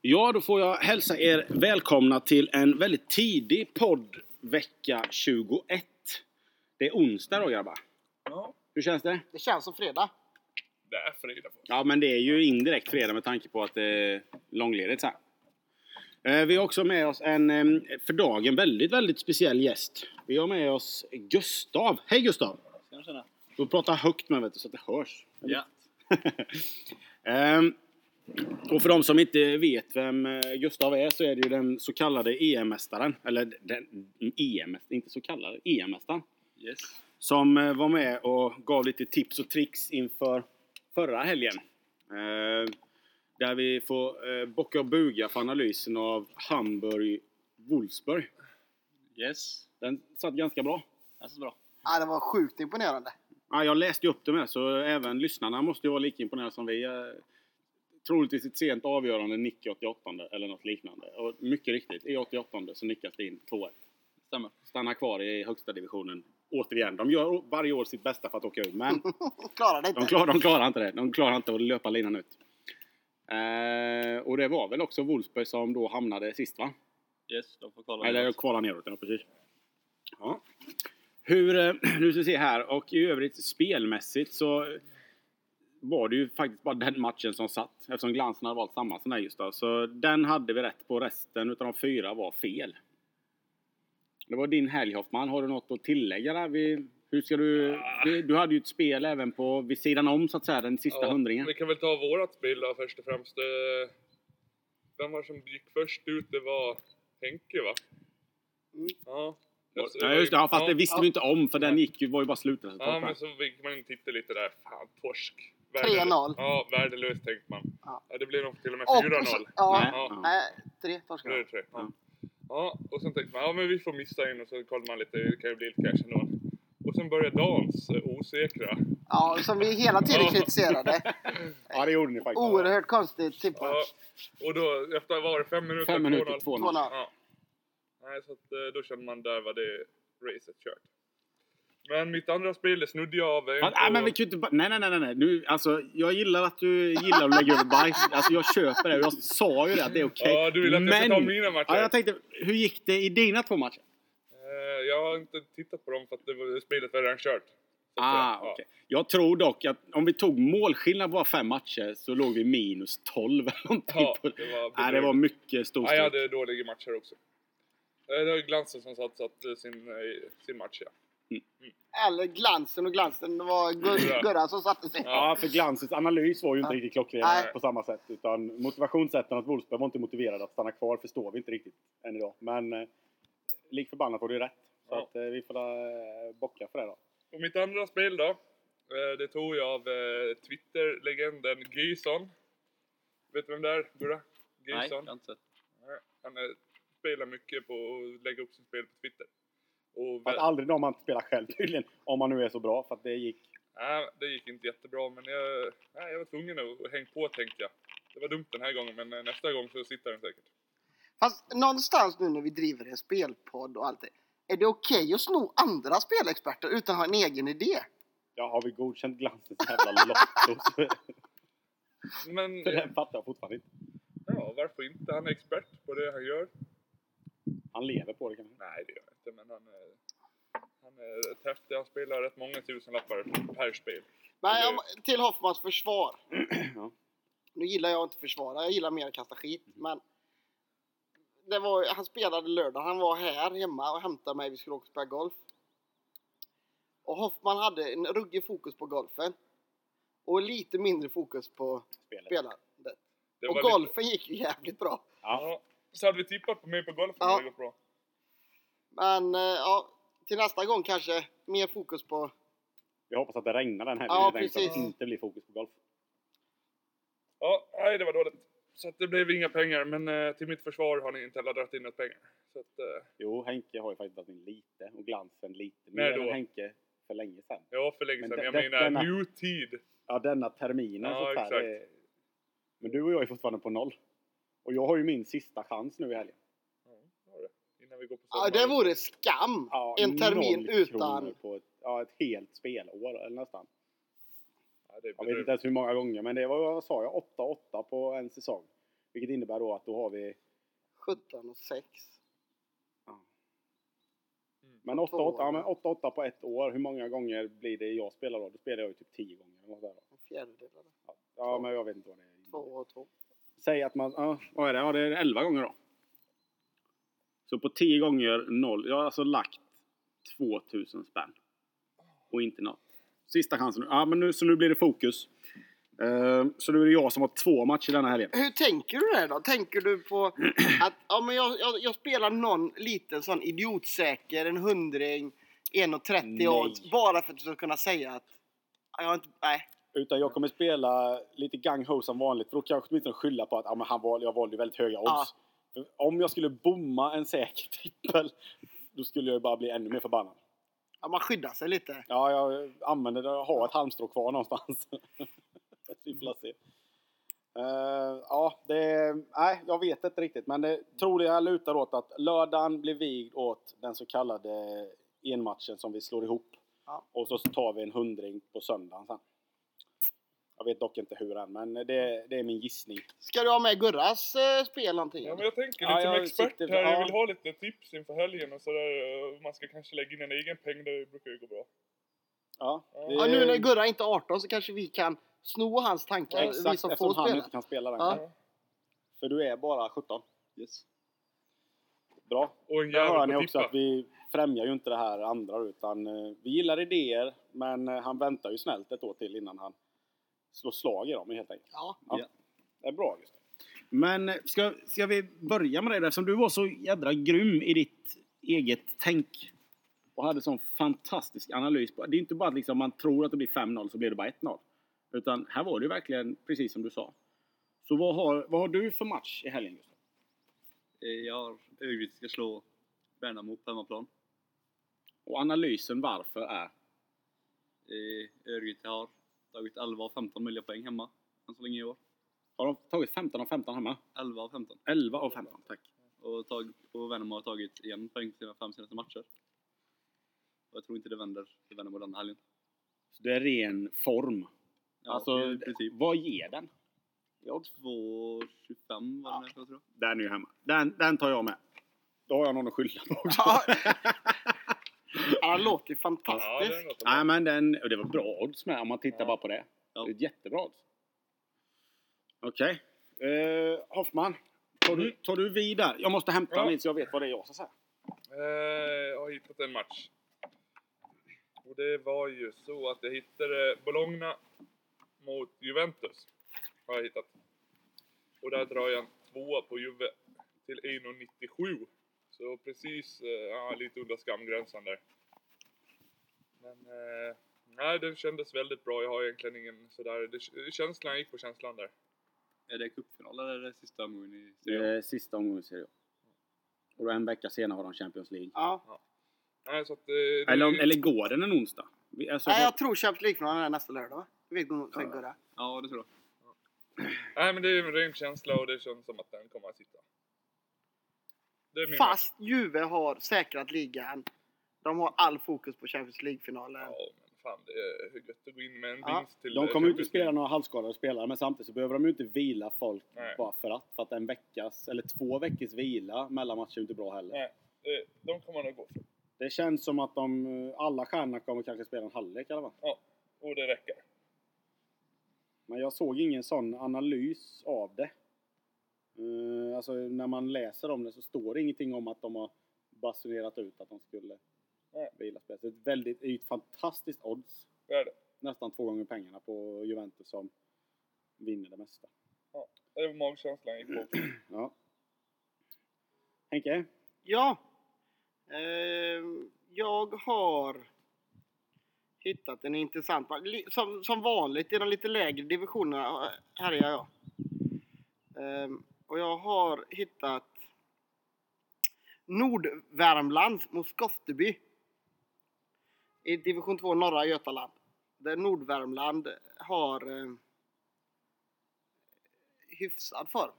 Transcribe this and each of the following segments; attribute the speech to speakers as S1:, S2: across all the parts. S1: Ja, då får jag hälsa er välkomna till en väldigt tidig podd vecka 21. Det är onsdag då grabbar.
S2: Ja.
S1: Hur känns det?
S3: Det känns som fredag.
S2: Det är fredag.
S1: Ja, men det är ju indirekt fredag med tanke på att det är långledigt så här. Eh, Vi har också med oss en eh, för dagen väldigt, väldigt speciell gäst. Vi har med oss Gustav. Hej Gustav! Du får prata högt med vet du, så att det hörs.
S2: Ja.
S1: Ehm, och för de som inte vet vem eh, Gustav är så är det ju den så kallade EM-mästaren. Eller den, EM, inte så kallade, E EM-mästaren.
S2: Yes.
S1: Som eh, var med och gav lite tips och tricks inför förra helgen. Ehm, där vi får eh, bocka och buga för analysen av Hamburg-Wolfsburg.
S2: Yes.
S1: Den satt ganska bra.
S2: Alltså bra.
S3: Ja, det var sjukt imponerande.
S1: Ja, jag läste ju upp det med, så även lyssnarna måste ju vara lika imponerade som vi. Eh, Troligtvis ett sent avgörande nick i 88 eller något liknande. Och mycket riktigt, i 88 så nickas det in 2-1.
S2: Stämmer.
S1: Stannar kvar i högsta divisionen. Återigen, de gör o- varje år sitt bästa för att åka ur, men
S3: Klarade inte.
S1: de klarar, de klarar inte det. De klarar inte att löpa linan ut. Eh, och det var väl också Wolfsburg som då hamnade sist, va?
S2: Yes, de får kolla.
S1: Eller kvala neråt, ja precis. Ja. Hur, eh, nu ska vi se här, och i övrigt spelmässigt så var det ju faktiskt bara den matchen som satt eftersom Glansen hade valt samma som där just då. Så den hade vi rätt på, resten utav de fyra var fel. Det var din helg Hoffman, har du något att tillägga där? Vi, hur ska du, du, du hade ju ett spel även på, vid sidan om så att säga, den sista hundringen.
S4: Vi kan väl ta vårat spel då först och främst. Eh, Vem var det som gick först ut? Det var Henke va?
S3: Mm.
S4: Ja.
S1: Ja, just det, alltså. ja, fast det visste vi inte om för den gick ju, var ju bara slutresultat.
S4: Ja men så fick man titta lite där. Fan torsk.
S3: 3-0.
S4: Ja värdelöst tänkte man.
S3: Ja.
S4: Ja. det blev nog till och med
S3: Och-
S4: 4-0.
S1: Nej,
S3: Ja.
S1: ja.
S3: Nej, tre
S4: Nu är det
S3: torskar.
S4: tre.
S1: Ja.
S4: Ja. ja och sen tänkte man ja men vi får missa in och så kollar man lite. Det kan ju bli lite cash ändå. Och sen började dans eh, osäkra.
S3: Ja, som vi hela tiden
S4: Ja.
S3: kritiserade.
S1: ja, det gjorde ni faktiskt.
S3: Oerhört konstigt typ.
S4: Ja,
S3: tippat.
S4: och då efter var det fem minuter?
S1: Fem minuter,
S4: 2-0.
S1: 2-0.
S3: Två-noll.
S4: Ja. Nej, så att, eh, då kände man där var det racet kört. Men mitt andra spel det snudde jag av. en
S1: Fan, nej,
S4: på-
S1: men vi kan ju inte bara- nej, nej, nej, nej, nej. Nu, alltså, jag gillar att du gillar att lägga över bajs. Alltså, jag köper det. Jag sa ju det, att det är okej.
S4: Ja, du vill att jag ska ta mina matcher?
S1: ja, jag tänkte, hur gick det i dina två matcher?
S4: Eh, jag har inte tittat på dem för att det var, spelet var redan kört. Så att
S1: Ah,
S4: säga. Ja.
S1: okej. Jag tror dock att om vi tog målskillnad på bara fem matcher så låg vi minus 12 eller någonting.
S4: Ja,
S1: på-
S4: det var
S1: nej, det var mycket stor
S4: Nej, jag
S1: stryk.
S4: hade dåliga matcher också. Eh, Det var ju Glansen som satsat eh, sin, eh, sin match ja.
S3: Eller glansen och glansen. Det var
S4: Ja.
S3: Gur- Gurran som satte sig.
S1: Ja, för Glansens analys var ju inte
S3: Ja.
S1: riktigt klockren
S3: Nej.
S1: på samma sätt. Utan motivationssätten att Wolfsberg var inte motiverad att stanna kvar förstår vi inte riktigt än idag. Men eh, lik förbannat var det ju rätt. Så
S4: Ja.
S1: att, eh, vi får eh, bocka för det då.
S4: Och mitt andra spel då, eh, det tog jag av eh, Twitter-legenden Gyson. Vet du vem det är, Gurra?
S2: Nej, jag
S4: Gyson?
S2: har inte sett.
S4: Nej, Han eh, spelar mycket på att lägga upp sitt spel på Twitter. Och
S1: Fast
S4: väl,
S1: aldrig de man spelar själv tydligen. Om man nu är så bra. För att det gick...
S4: nej, det gick inte jättebra, men jag, nej, jag var tvungen att hänga på tänkte jag. Det var dumt den här gången, men eh, nästa gång så sitter den säkert.
S3: Fast någonstans nu när vi driver en spelpodd och allt det. Är det okej att sno andra spelexperter utan att ha en egen idé?
S1: Ja, har vi godkänt glansens jävla lotto? Så
S4: Men eh,
S1: den fattar jag fortfarande inte.
S4: ja, varför inte? Han är expert på det han gör.
S1: Han lever på det kanske.
S4: Nej, det gör jag inte, men han är, han är rätt häftig. Han spelar rätt många tusenlappar per spel.
S3: Men
S4: Eller-
S3: om- till Hoffmans försvar.
S1: Ja.
S3: Nu gillar jag inte försvara, jag gillar mer att kasta skit. Men det var, han spelade lördag, han var här hemma och hämtade mig, vi skulle åka och spela golf. Och Hoffman hade en ruggig fokus på golfen. Och lite mindre fokus på
S1: Spelet.
S3: spelandet.
S4: Det
S3: Och
S4: var lite-
S3: golfen gick ju jävligt bra.
S1: Ja.
S4: Ja. Så hade vi tippat på mig på golfen
S3: Ja.
S4: hade det gått bra.
S3: Men eh, ja, till nästa gång kanske mer fokus på...
S1: Jag hoppas att det regnar den här
S3: Ja,
S1: helgen, så att det
S3: precis.
S1: inte blir fokus på golf.
S4: Ja, nej det var dåligt. Så att det blev inga pengar, men eh, till mitt försvar har ni inte heller dragit in något pengar. Så att, eh,
S1: Jo, Henke har ju faktiskt dragit in lite. Och glansen lite
S4: När
S1: mer
S4: då?
S1: än Henke för länge sedan.
S4: ja, för länge
S1: Men
S4: sedan.
S1: det-
S4: Jag
S1: det-
S4: menar
S1: denna-
S4: nutid.
S1: Ja, denna terminen.
S4: Ja,
S1: så att säga, det- Men du och jag är fortfarande på noll. Och jag har ju min sista chans nu i helgen.
S4: Ja, det var det. Innan vi går på
S3: Ja, det vore skam!
S1: Ja,
S3: en termin
S1: noll kronor
S3: utan...
S1: På ett, ja, ett helt spelår eller nästan.
S4: Ja, det är
S1: Jag vet inte
S4: bedrövligt.
S1: ens hur många gånger, men det var vad sa jag, 8-8 på en säsong. Vilket innebär då att då har vi...
S3: 17 och 6.
S1: Men
S3: På
S1: 8-8
S3: två år.
S1: ja, men 8-8 på ett år, hur många gånger blir det jag spelar då? Då spelar jag ju typ 10 gånger. eller något där då.
S3: En fjärdedel. eller?
S1: Ja,
S3: Två.
S1: men jag vet inte vad det
S3: Två
S1: är.
S3: och två.
S1: Säg att man... Ja, vad är det? Ja, det är 11 gånger då. Så på 10 gånger 0. Jag har alltså lagt 2000 spänn. Och inte något. Sista chansen. Ja, men nu, så nu blir det fokus. Eh, så nu är det jag som har två matcher denna helgen.
S3: Hur tänker du där då? Tänker du på att ja, men jag, jag, jag spelar någon liten sån idiotsäker, en hundring, 1,30
S1: Nej.
S3: odds bara för att du ska kunna säga att ja, jag har inte, nej,
S1: Utan jag kommer spela lite gang ho som vanligt. För då kan jag åtminstone skylla på att ja, men han valde, jag valde ju väldigt höga
S3: Ja.
S1: odds. För Om jag skulle bomma en säker trippel, då skulle jag ju bara bli ännu mer förbannad.
S3: ja, man skyddar sig lite.
S1: Ja, jag använder det. Jag har ett halmstrå kvar någonstans. Vi får se. Eh, ja, det... Nej, jag vet inte riktigt. Men det troliga lutar åt att lördagen blir vigd åt den så kallade enmatchen som vi slår ihop.
S3: Ja.
S1: Och så tar vi en hundring på söndagen sen. Jag vet dock inte hur än, men det, det är min gissning.
S3: Ska du ha med Gurras eh, spel någonting?
S4: Ja, men jag tänker
S1: Ja,
S4: lite som
S1: jag
S4: expert
S1: sitter-
S4: här.
S1: ja.
S4: Jag vill ha lite tips inför helgen och sådär. Och Man ska kanske lägga in en egen peng, det brukar ju gå bra.
S1: Ja,
S4: Ja,
S3: ja, nu när Gurra inte är 18 så kanske vi kan sno hans tankar, vi
S1: Exakt,
S3: som får
S1: eftersom han
S3: spela.
S1: inte kan spela den.
S3: Ja.
S1: kanske. För du är bara 17.
S2: Yes.
S1: Bra.
S4: Och en
S1: Där hör
S4: jävel
S1: ni
S4: på
S1: också
S4: tippa.
S1: att vi främjar ju inte det här andra utan eh, vi gillar idéer men eh, han väntar ju snällt ett år till innan han slår slag i dem helt enkelt.
S3: Ja.
S1: Det är bra just Men eh, ska, ska vi börja med det där som du var så jädra grym i ditt eget tänk och hade sån fantastisk analys. på- Det är inte bara att liksom man tror att det blir 5-0 så blir det bara 1-0. Utan här var det ju verkligen precis som du sa. Så vad har, vad har du för match i helgen? Gustav?
S2: Eh, Jag har Örgryte ska slå Värnamo på hemmaplan.
S1: Och analysen varför är?
S2: Eh, Örgryte har tagit 11 av 15 möjliga poäng hemma än så länge i år.
S1: Har de tagit 15 av 15 hemma?
S2: 11 av 15.
S1: 11 av 15, tack.
S2: Och, tag, och Värnamo har tagit en poäng på sina fem senaste matcher. Och jag tror inte det vänder för Värnamo den här helgen.
S1: Så det är ren form.
S2: Ja,
S1: alltså,
S2: i princip.
S1: vad ger den?
S2: Jag har 2,25 var den här, jag tror.
S1: Den är ju hemma. Den, den tar jag med. Då har jag någon att skylla på också.
S3: Ja. Han låter ju
S4: Ja, det är
S3: fantastisk.
S4: något.
S1: Nej, men den, och det var bra odds med om man tittar
S4: Ja.
S1: bara på det.
S2: Ja.
S1: Det är ett jättebra odds. Okej. Eh, Hoffman, tar du, tar du vid där? Jag måste hämta
S4: Ja.
S1: min så jag vet vad det är jag ska säga.
S4: Eh, jag har hittat en match. Och det var ju så att jag hittade Bologna mot Juventus. Har jag hittat. Och där drar jag en tvåa på Juve till 1,97. Så precis, eh, ja, lite under skamgränsen där. Men, eh, nej det kändes väldigt bra. Jag har egentligen ingen sådär, det, känslan jag gick på känslan där.
S2: Är det cupfinal eller är det sista omgången i
S1: Det
S2: serien?
S1: är Eh, sista omgången ser jag. Och då en vecka senare har de Champions League.
S3: Ja.
S4: Nej så att... Eh, det-
S1: Eller, om- eller går den en onsdag? Vi- Alltså,
S3: Nej, jag tror Champions League-finalen är nästa lördag. va? Det vet nog säkert Gurra.
S2: Ja, det tror jag.
S4: Nej men det är en ren känsla och det känns som att den kommer att sitta. Det är min
S3: Fast Juve har säkrat ligan. De har all fokus på Champions League-finalen.
S4: Ja, men fan det är gött att gå in med en
S3: Ja,
S4: vinst till...
S1: De
S4: eh,
S1: kommer ju inte
S4: Champions
S1: spela några halvskadade spelare, men samtidigt så behöver de ju inte vila folk
S4: Nej.
S1: bara för att. För att en veckas, eller två veckors vila mellan matcher är ju inte bra heller.
S4: Nej. League. Eh, De kommer nog gå för.
S1: Det känns som att de, eh, alla stjärnor kommer kanske spela en halvlek i alla fall.
S4: Och det räcker.
S1: Men jag såg ingen sån analys av det. Eh, Alltså när man läser om det så står det ingenting om att de har basunerat ut att de skulle
S4: Nej.
S1: vila spelare. Så det är ett väldigt, det är ju ett fantastiskt odds.
S4: Det är det.
S1: Nästan två gånger pengarna på Juventus som vinner det mesta.
S4: Det var magkänslan jag gick på.
S1: Ja. Henke?
S3: Ja. Ehm, jag har hittat en intressant match. Li- Som, som vanligt i de lite lägre divisionerna härjar jag. Ehm, och jag har hittat Nordvärmland mot Skofteby. I division 2 norra Götaland. Där Nordvärmland har eh, hyfsad form.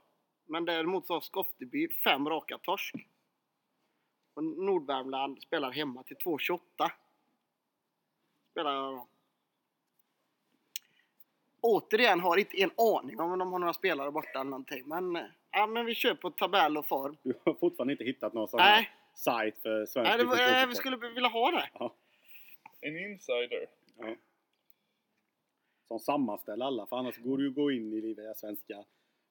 S3: Men däremot så har Skofteby fem raka torsk. Och Nordvärmland spelar hemma till 2.28. Spelar jag då. återigen har inte en aning om de har några spelare borta eller någonting. Men, eh, ja, men vi kör på tabell och form.
S1: Du har fortfarande inte hittat någon sån här
S3: Nej,
S1: sajt för svensk
S3: nej det var,
S1: division
S3: eh, vi
S1: fotboll.
S3: skulle vilja ha det.
S4: En insider.
S1: Ja. Som sammanställer alla, för annars går du ju gå in i det svenska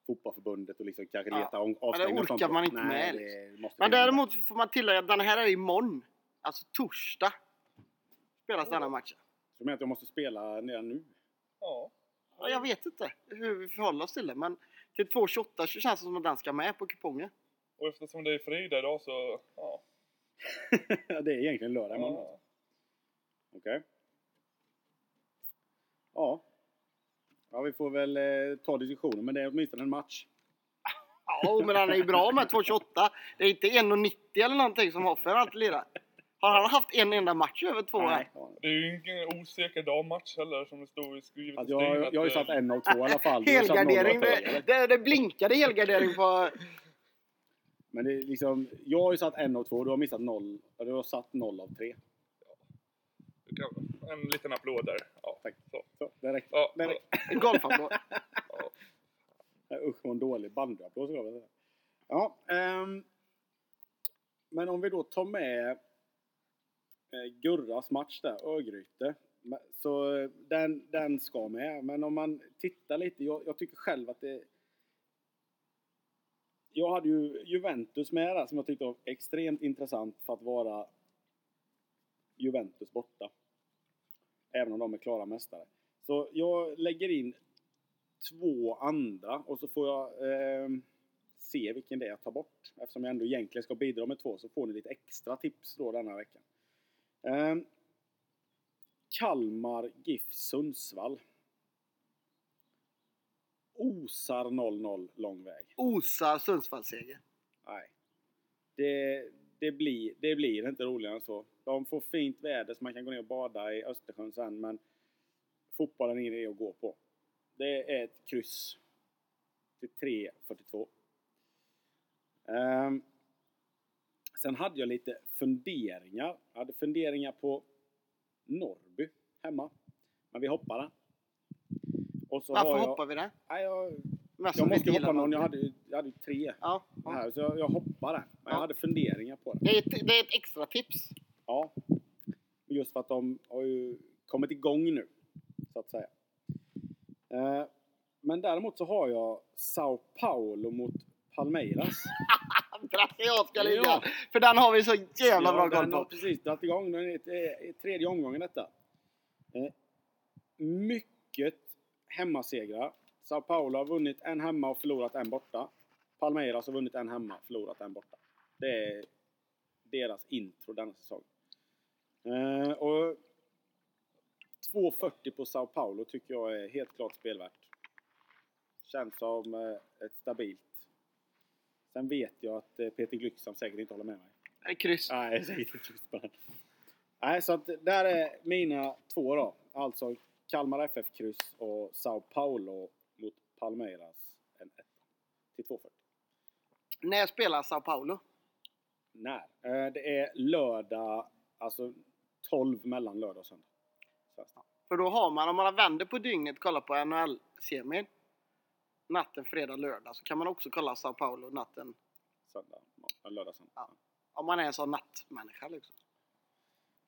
S1: fotbollförbundet och liksom kanske
S3: Ja.
S1: leta om
S3: Men
S1: avstängningar
S3: det
S1: och sånt.
S3: orkar man inte
S1: Nej,
S3: med, liksom.
S1: det måste
S3: Men
S1: vi göra.
S3: däremot får man tillägga att den här är imorgon. Alltså torsdag. Spelas denna matchen.
S1: Så du menar att jag måste spela redan nu?
S4: Ja.
S3: Ja, jag vet inte hur vi förhåller oss till det, men till 2.28 så känns det som att den ska med på kupongen.
S4: Och eftersom det är fredag idag så... Ja.
S1: det är egentligen lördag imorgon.
S4: Ja.
S1: Okej. Ja. Ja, vi får väl eh, ta diskussionen, men det är åtminstone en match.
S3: Ja, men han är ju bra med 2.28. Det är inte 1.90 eller någonting som Hoffer alltid lirar. Har han haft en enda match över två här?
S1: Ja.
S4: Det är ju ingen osäker dammatch heller som det stod i skrivet
S1: Alltså, jag, jag har ju satt en av två i alla fall. Du har satt noll av
S3: Helgardering.
S1: tre, eller?
S3: Det, det, det blinkade helgardering på...
S1: Men det är liksom, jag har ju satt en av två, du har missat noll. ja, Du har satt noll av tre.
S4: Du kan- En liten applåd där. Ja.
S1: Tack.
S4: Så.
S1: Så, det räcker.
S4: Ja.
S1: Det räcker.
S3: Golfapplåd.
S1: Nej, Usch, vad en dålig bandyapplåd skulle jag vilja säga. Ja, ehm, men om vi då tar med eh, Gurras match där, Örgryte. Men- Så eh, den, den ska med. Men om man tittar lite, jag, jag tycker själv att det... Jag hade ju Juventus med där som jag tyckte var extremt intressant för att vara Juventus borta. Även om de är klara mästare. Så jag lägger in två andra och så får jag ehm, se vilken det är jag tar bort. Eftersom jag ändå egentligen ska bidra med två så får ni lite extra tips då denna veckan. Ehm, Kalmar GIF Sundsvall. Osar 0-0 lång väg.
S3: Osar Sundsvallsseger.
S1: Nej. Det, det, blir, det blir inte roligare än så. De får fint väder så man kan gå ner och bada i Östersjön sen men fotbollen är ingen idé att gå på. Det är ett kryss till 3.42. Ehm, sen hade jag lite funderingar. Jag hade funderingar på Norrby hemma. Men vi hoppar den. Och så
S3: Varför
S1: har jag,
S3: hoppar vi det?
S1: Nej, jag,
S3: Mest
S1: jag
S3: som
S1: måste
S3: inte
S1: hoppa
S3: gillar
S1: någon. Jag hade, ju- jag hade ju tre
S3: Ja,
S1: det
S3: ja.
S1: här, så jag, jag hoppar den. Men jag
S3: Ja.
S1: hade funderingar på den.
S3: Det, är ett, det är ett extra tips.
S1: Ja. Men Just för att de har ju kommit igång nu, så att säga. Eh, men däremot så har jag Sao Paulo mot Palmeiras.
S3: Brasilianska
S1: Ja.
S3: ligan. För den har vi så jävla
S1: Ja,
S3: bra koll
S1: Den har
S3: på.
S1: precis dragit igång. Den är eh, i tredje omgången detta. Eh, Mycket hemmasegrar. Sao Paulo har vunnit en hemma och förlorat en borta. Palmeiras har vunnit en hemma och förlorat en borta. Det är deras intro denna säsong. Eh, och 2.40 på Sao Paulo tycker jag är helt klart spelvärt. Känns som eh, ett stabilt. Sen vet jag att eh, Peter Glycksam säkert inte håller med mig.
S3: Det är Kryss.
S1: Nej, säkert inte just på den. Nej, så att där är mina två då. Alltså Kalmar FF-kryss och Sao Paulo mot Palmeiras en etta. Till 2.40.
S3: När spelar Sao Paulo?
S1: När? Eh, Det är lördag, alltså 12 mellan lördag och söndag. Svenskt.
S3: För då har man, om man vänder på dygnet, kollar på NHL-semin. Natten fredag, lördag. Så kan man också kolla Sao Paulo natten.
S1: Söndag, ja, lördag, söndag.
S3: Om man är en sån nattmänniska liksom.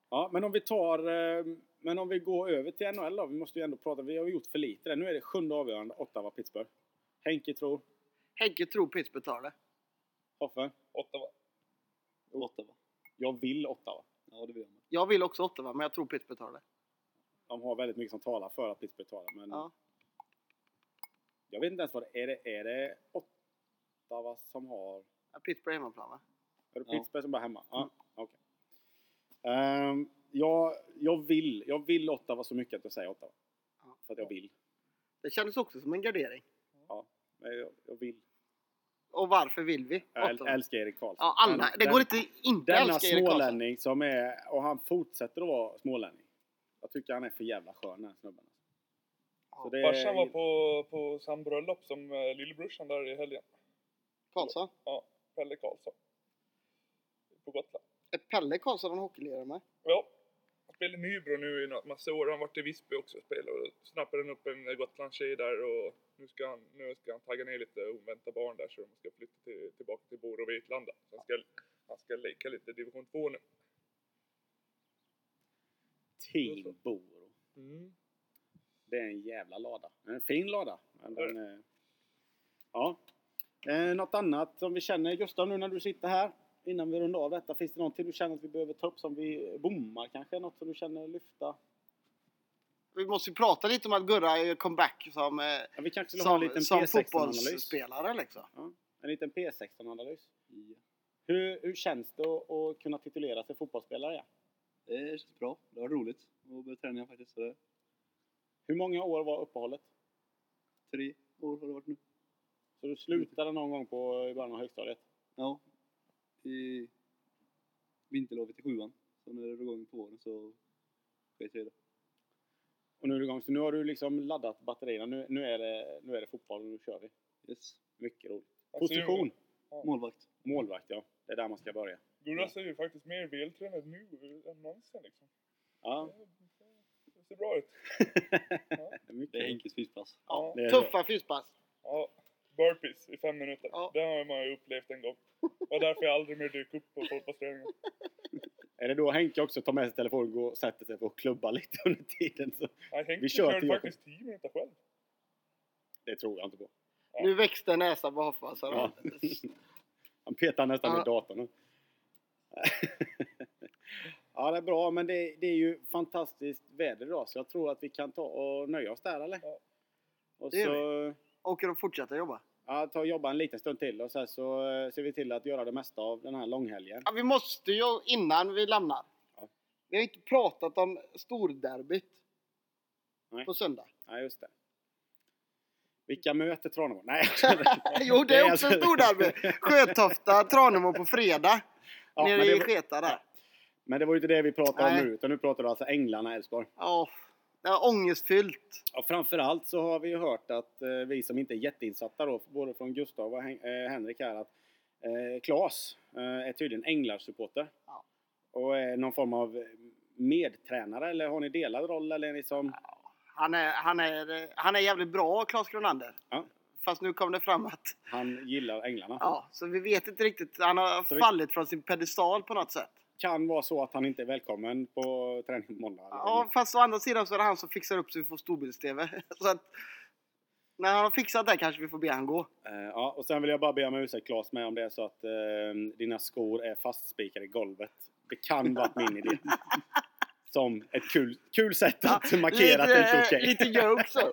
S1: Ja, men om vi tar... eh, Men om vi går över till NHL då. Vi måste ju ändå prata. Vi har ju gjort för lite där. Nu är det sjunde avgörande, Ottawa, Pittsburgh. Henke tror.
S3: Henke tror Pittsburgh tar det.
S1: Hoffe?
S4: Ottawa.
S2: Ottawa.
S1: Jag vill Ottawa.
S2: Ja, det vill jag med.
S3: Jag vill också Ottawa, men jag tror Pittsburgh tar det.
S1: de har väldigt mycket som talar för att Pittsburgh tar det. Men
S3: Ja.
S1: jag vet inte ens vad det är. Det, är det Ottawa som har...
S3: Ja, Pittsburgh är hemmaplan va?
S1: Är det
S2: Ja.
S1: Pittsburgh som bara är hemma? Ja,
S4: Mm.
S1: okej. Ehm, jag, jag, vill, jag vill Ottawa så mycket att jag säger Ottawa.
S3: Ja.
S1: För att jag vill.
S3: Det kändes också som en gardering.
S1: Men jag, jag vill.
S3: Och varför vill vi?
S1: Jag äl,
S3: Ottawa.
S1: älskar Erik Karlsson.
S3: Ja, alla. Det
S1: Den-
S3: går inte inte
S1: Denna
S3: älska Erik Karlsson.
S1: smålänning som är... Och han fortsätter att vara smålänning. Jag tycker han är för jävla skön den här snubben. Så det-
S4: Farsan var på, på sam bröllop som eh, lillebrorsan där i helgen.
S3: Karlsson?
S4: Pelle Karlsson. På Gotland.
S3: Är Pelle Karlsson en hockeylirare med?
S4: Ja. spelat i Nybro nu i något massa år. Han har varit i Visby också och spelat. Och snappade han upp en Gotlandstjej där och nu ska, han, nu ska han tagga ner lite. Hon väntar barn där så de ska flytta till, tillbaka till Bor och Vetlanda. Så han ska, han ska leka lite division 2 nu.
S1: Team Boro.
S4: Mm.
S1: Det är en jävla lada. En fin lada. Men Den, eh, ja. Eh, något annat som vi känner, Gustav, nu när du sitter här innan vi rundar av detta. Finns det någonting du känner att vi behöver ta upp som vi bommar kanske? Något som du känner lyfta?
S3: Vi måste ju prata lite om att Gurra gör comeback som, eh,
S1: Ja, vi kanske skulle ha en
S3: som,
S1: liten
S3: som
S1: P16-analys.
S3: fotbollsspelare liksom.
S1: En liten P16-analys. Hur, hur känns det att, att kunna titulera sig fotbollsspelare igen?
S2: Det känns bra. Det var roligt att börja träna faktiskt. Så det är
S1: Hur många år var uppehållet?
S2: tre år har det varit nu.
S1: Så du slutade någon gång på, i början av högstadiet?
S2: Ja. I vinterlovet i sjuan. Så när det var igång på våren så sket jag i det.
S1: Och nu är du igång. Så nu har du liksom laddat batterierna. Nu, nu, är, det, nu är det fotboll och nu kör vi.
S2: Yes.
S1: Mycket roligt.
S4: Alltså,
S1: Position?
S2: Målvakt.
S1: Målvakt, ja. Det är där man ska börja.
S4: Gurra ser ju faktiskt mer vältränad nu än någonsin liksom.
S1: Ja.
S4: Det ser bra ut.
S2: Det är
S1: Mycket.
S2: Henkes fyspass.
S4: Ja.
S1: Det är
S3: Tuffa fyspass.
S4: ja. Burpees i fem minuter.
S3: Ja.
S4: Det har man ju upplevt en gång. Det var därför jag aldrig mer dök upp på fotbollsträningen.
S1: Är det då Henke också tar med sig telefonen och går och sätter sig på och klubbar lite under tiden? Så
S4: Nej, Henke
S1: Vi kör
S4: körde
S1: till
S4: faktiskt 10 minuter själv.
S1: det tror jag inte på.
S4: Ja.
S3: Nu växte näsan på Hoffa. Så
S1: Ja.
S3: det-
S1: Han petar nästan
S3: Ja.
S1: i datorn. ja, det är bra, men det, det är ju fantastiskt väder idag så jag tror att vi kan ta och nöja oss där, eller?
S4: Ja.
S1: Och
S3: Det gör
S1: så
S3: Åker de fortsätta jobba?
S1: ja, ta och jobba en liten stund till och sen så eh, ser vi till att göra det mesta av den här långhelgen.
S3: Ja, vi måste ju innan vi lämnar.
S1: Ja.
S3: Vi har inte pratat om storderbyt
S1: Nej.
S3: på söndag.
S1: Ja, just det. Vilka möter Tranemo? Nej,
S3: jo, det
S1: Nej,
S3: är också
S1: alltså-
S3: storderby. Sjötofta, Tranemo på fredag.
S1: ja, men,
S3: nere i
S1: det,
S3: Sketa där.
S1: men det var ju inte det vi pratade
S3: Nej.
S1: om nu, utan nu pratar du alltså Änglarna-Elfsborg.
S3: Ja, det var ångestfyllt.
S1: Ja, framförallt så har vi ju hört att eh, vi som inte är jätteinsatta då, både från Gustav och Hen- eh, Henrik här, att eh, Klas eh, är tydligen Änglarsupporter.
S3: Ja.
S1: Och är någon form av medtränare, eller har ni delad roll eller är ni som...
S3: Han är, han är, han är jävligt bra, Claes Kronander.
S1: Ja.
S3: Fast nu kom det fram att...
S1: Han gillar Änglarna.
S3: Ja, så vi vet inte riktigt. Han
S1: Så
S3: har
S1: vi-
S3: fallit från sin pedestal på något sätt.
S1: Kan vara så att han inte är välkommen på träning på måndag. eller
S3: Ja, fast å andra sidan så är det han som fixar upp så vi får storbilds-tv. Så att när han har fixat det kanske vi får be han gå.
S1: Eh, Ja, och sen vill jag bara be om ursäkt Claes med om det är så att eh, dina skor är fastspikade i golvet. Det kan vara min idé. Som ett kul, kul sätt att markera att det inte är okej.
S3: Lite joke så.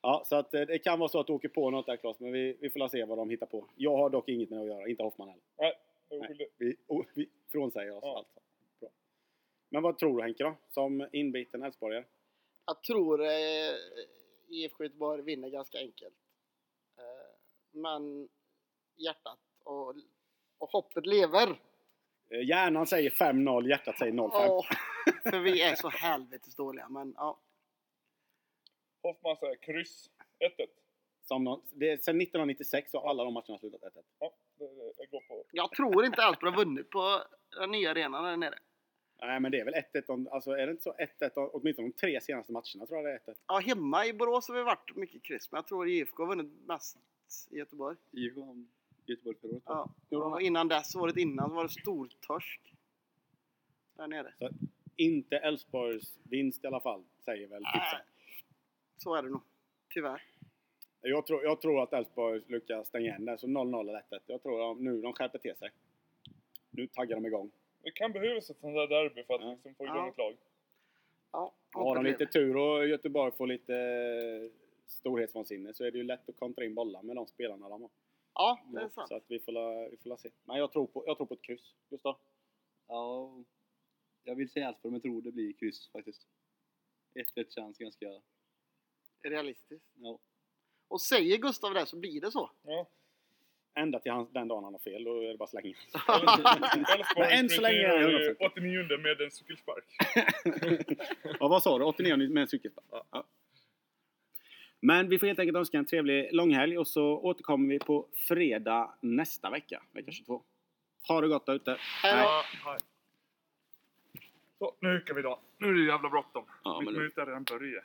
S1: Ja, så att eh, det kan vara så att du åker på något där Claes, men vi, vi får la se vad de hittar på. Jag har dock inget med det att göra, inte Hoffman heller.
S4: Jag var
S1: Nej.
S4: skyldig.
S1: Vi, oh, vi frånsäger oss
S4: Ja.
S1: allt. Bra. Men vad tror du Henke då, som inbiten Elfsborgare?
S3: Jag tror eh, IFK Göteborg vinner ganska enkelt. Eh, men hjärtat och, och hoppet lever.
S1: Eh, Hjärnan säger 5-0, hjärtat säger 0-5.
S3: Åh, för vi är så helvetes dåliga. Men ja,
S4: Hoffman säger kryss. 1-1.
S1: Som någon, det är, sedan 1996 har alla de matcherna slutat 1-1.
S4: Ja, det- det- jag går på.
S3: jag tror inte alls på har vunnit på den nya arenan där nere.
S1: Nej, men det är väl 1-1, om- alltså är det inte så 1-1, om- åtminstone de tre senaste matcherna tror jag det är 1-1.
S3: Ja, hemma i Borås har vi varit mycket kryss, men jag tror IFK har vunnit mest i Göteborg.
S2: IFK vann Göteborg förra året.
S3: Ja. Och innan dess, året innan, var det stortorsk. Där nere.
S1: Inte Elfsborgs vinst i alla fall, säger väl tipsen.
S3: Typ Så är det nog. Tyvärr.
S1: Jag tror, jag tror att Elfsborg lyckas stänga igen där, så 0-0 är lätt. Jag tror de, nu de skärper till sig. Nu taggar de igång.
S4: Det kan behövas ett sånt där derby för att
S1: Ja.
S4: liksom få igång
S3: Ja.
S4: ett lag.
S3: Ja,
S1: Har de
S3: hoppet
S1: lite
S3: lever.
S1: tur och Göteborg får lite eh, storhetsvansinne så är det ju lätt att kontra in bollar med de spelarna de har.
S3: Ja, det är sant.
S1: Så att vi får, la, vi får la se. Men jag tror på, jag tror på ett kryss. Gustav?
S2: Ja, jag vill säga Elfsborg men tror det blir kryss faktiskt. 1-1 känns ganska...
S3: Realistiskt.
S2: Ja.
S3: Och säger Gustav det så blir det så.
S4: Ja.
S1: Ända till han, den dagen han har fel, då är det bara att slänga.
S4: Elfsborg
S1: Men än så länge är det
S4: prioriterar ju
S1: 100%.
S4: 89 med en cykelspark.
S1: Ja, vad sa du? 89 med en cykel? Ja. Men vi får helt enkelt önska en trevlig långhelg och så återkommer vi på fredag nästa vecka, vecka 22. Ha det gott där ute!
S3: Hej då.
S4: Ja, Så, nu kan vi dra. Nu är det jävla bråttom.
S1: Ja,
S4: Mitt
S1: men
S4: minut har redan börjat.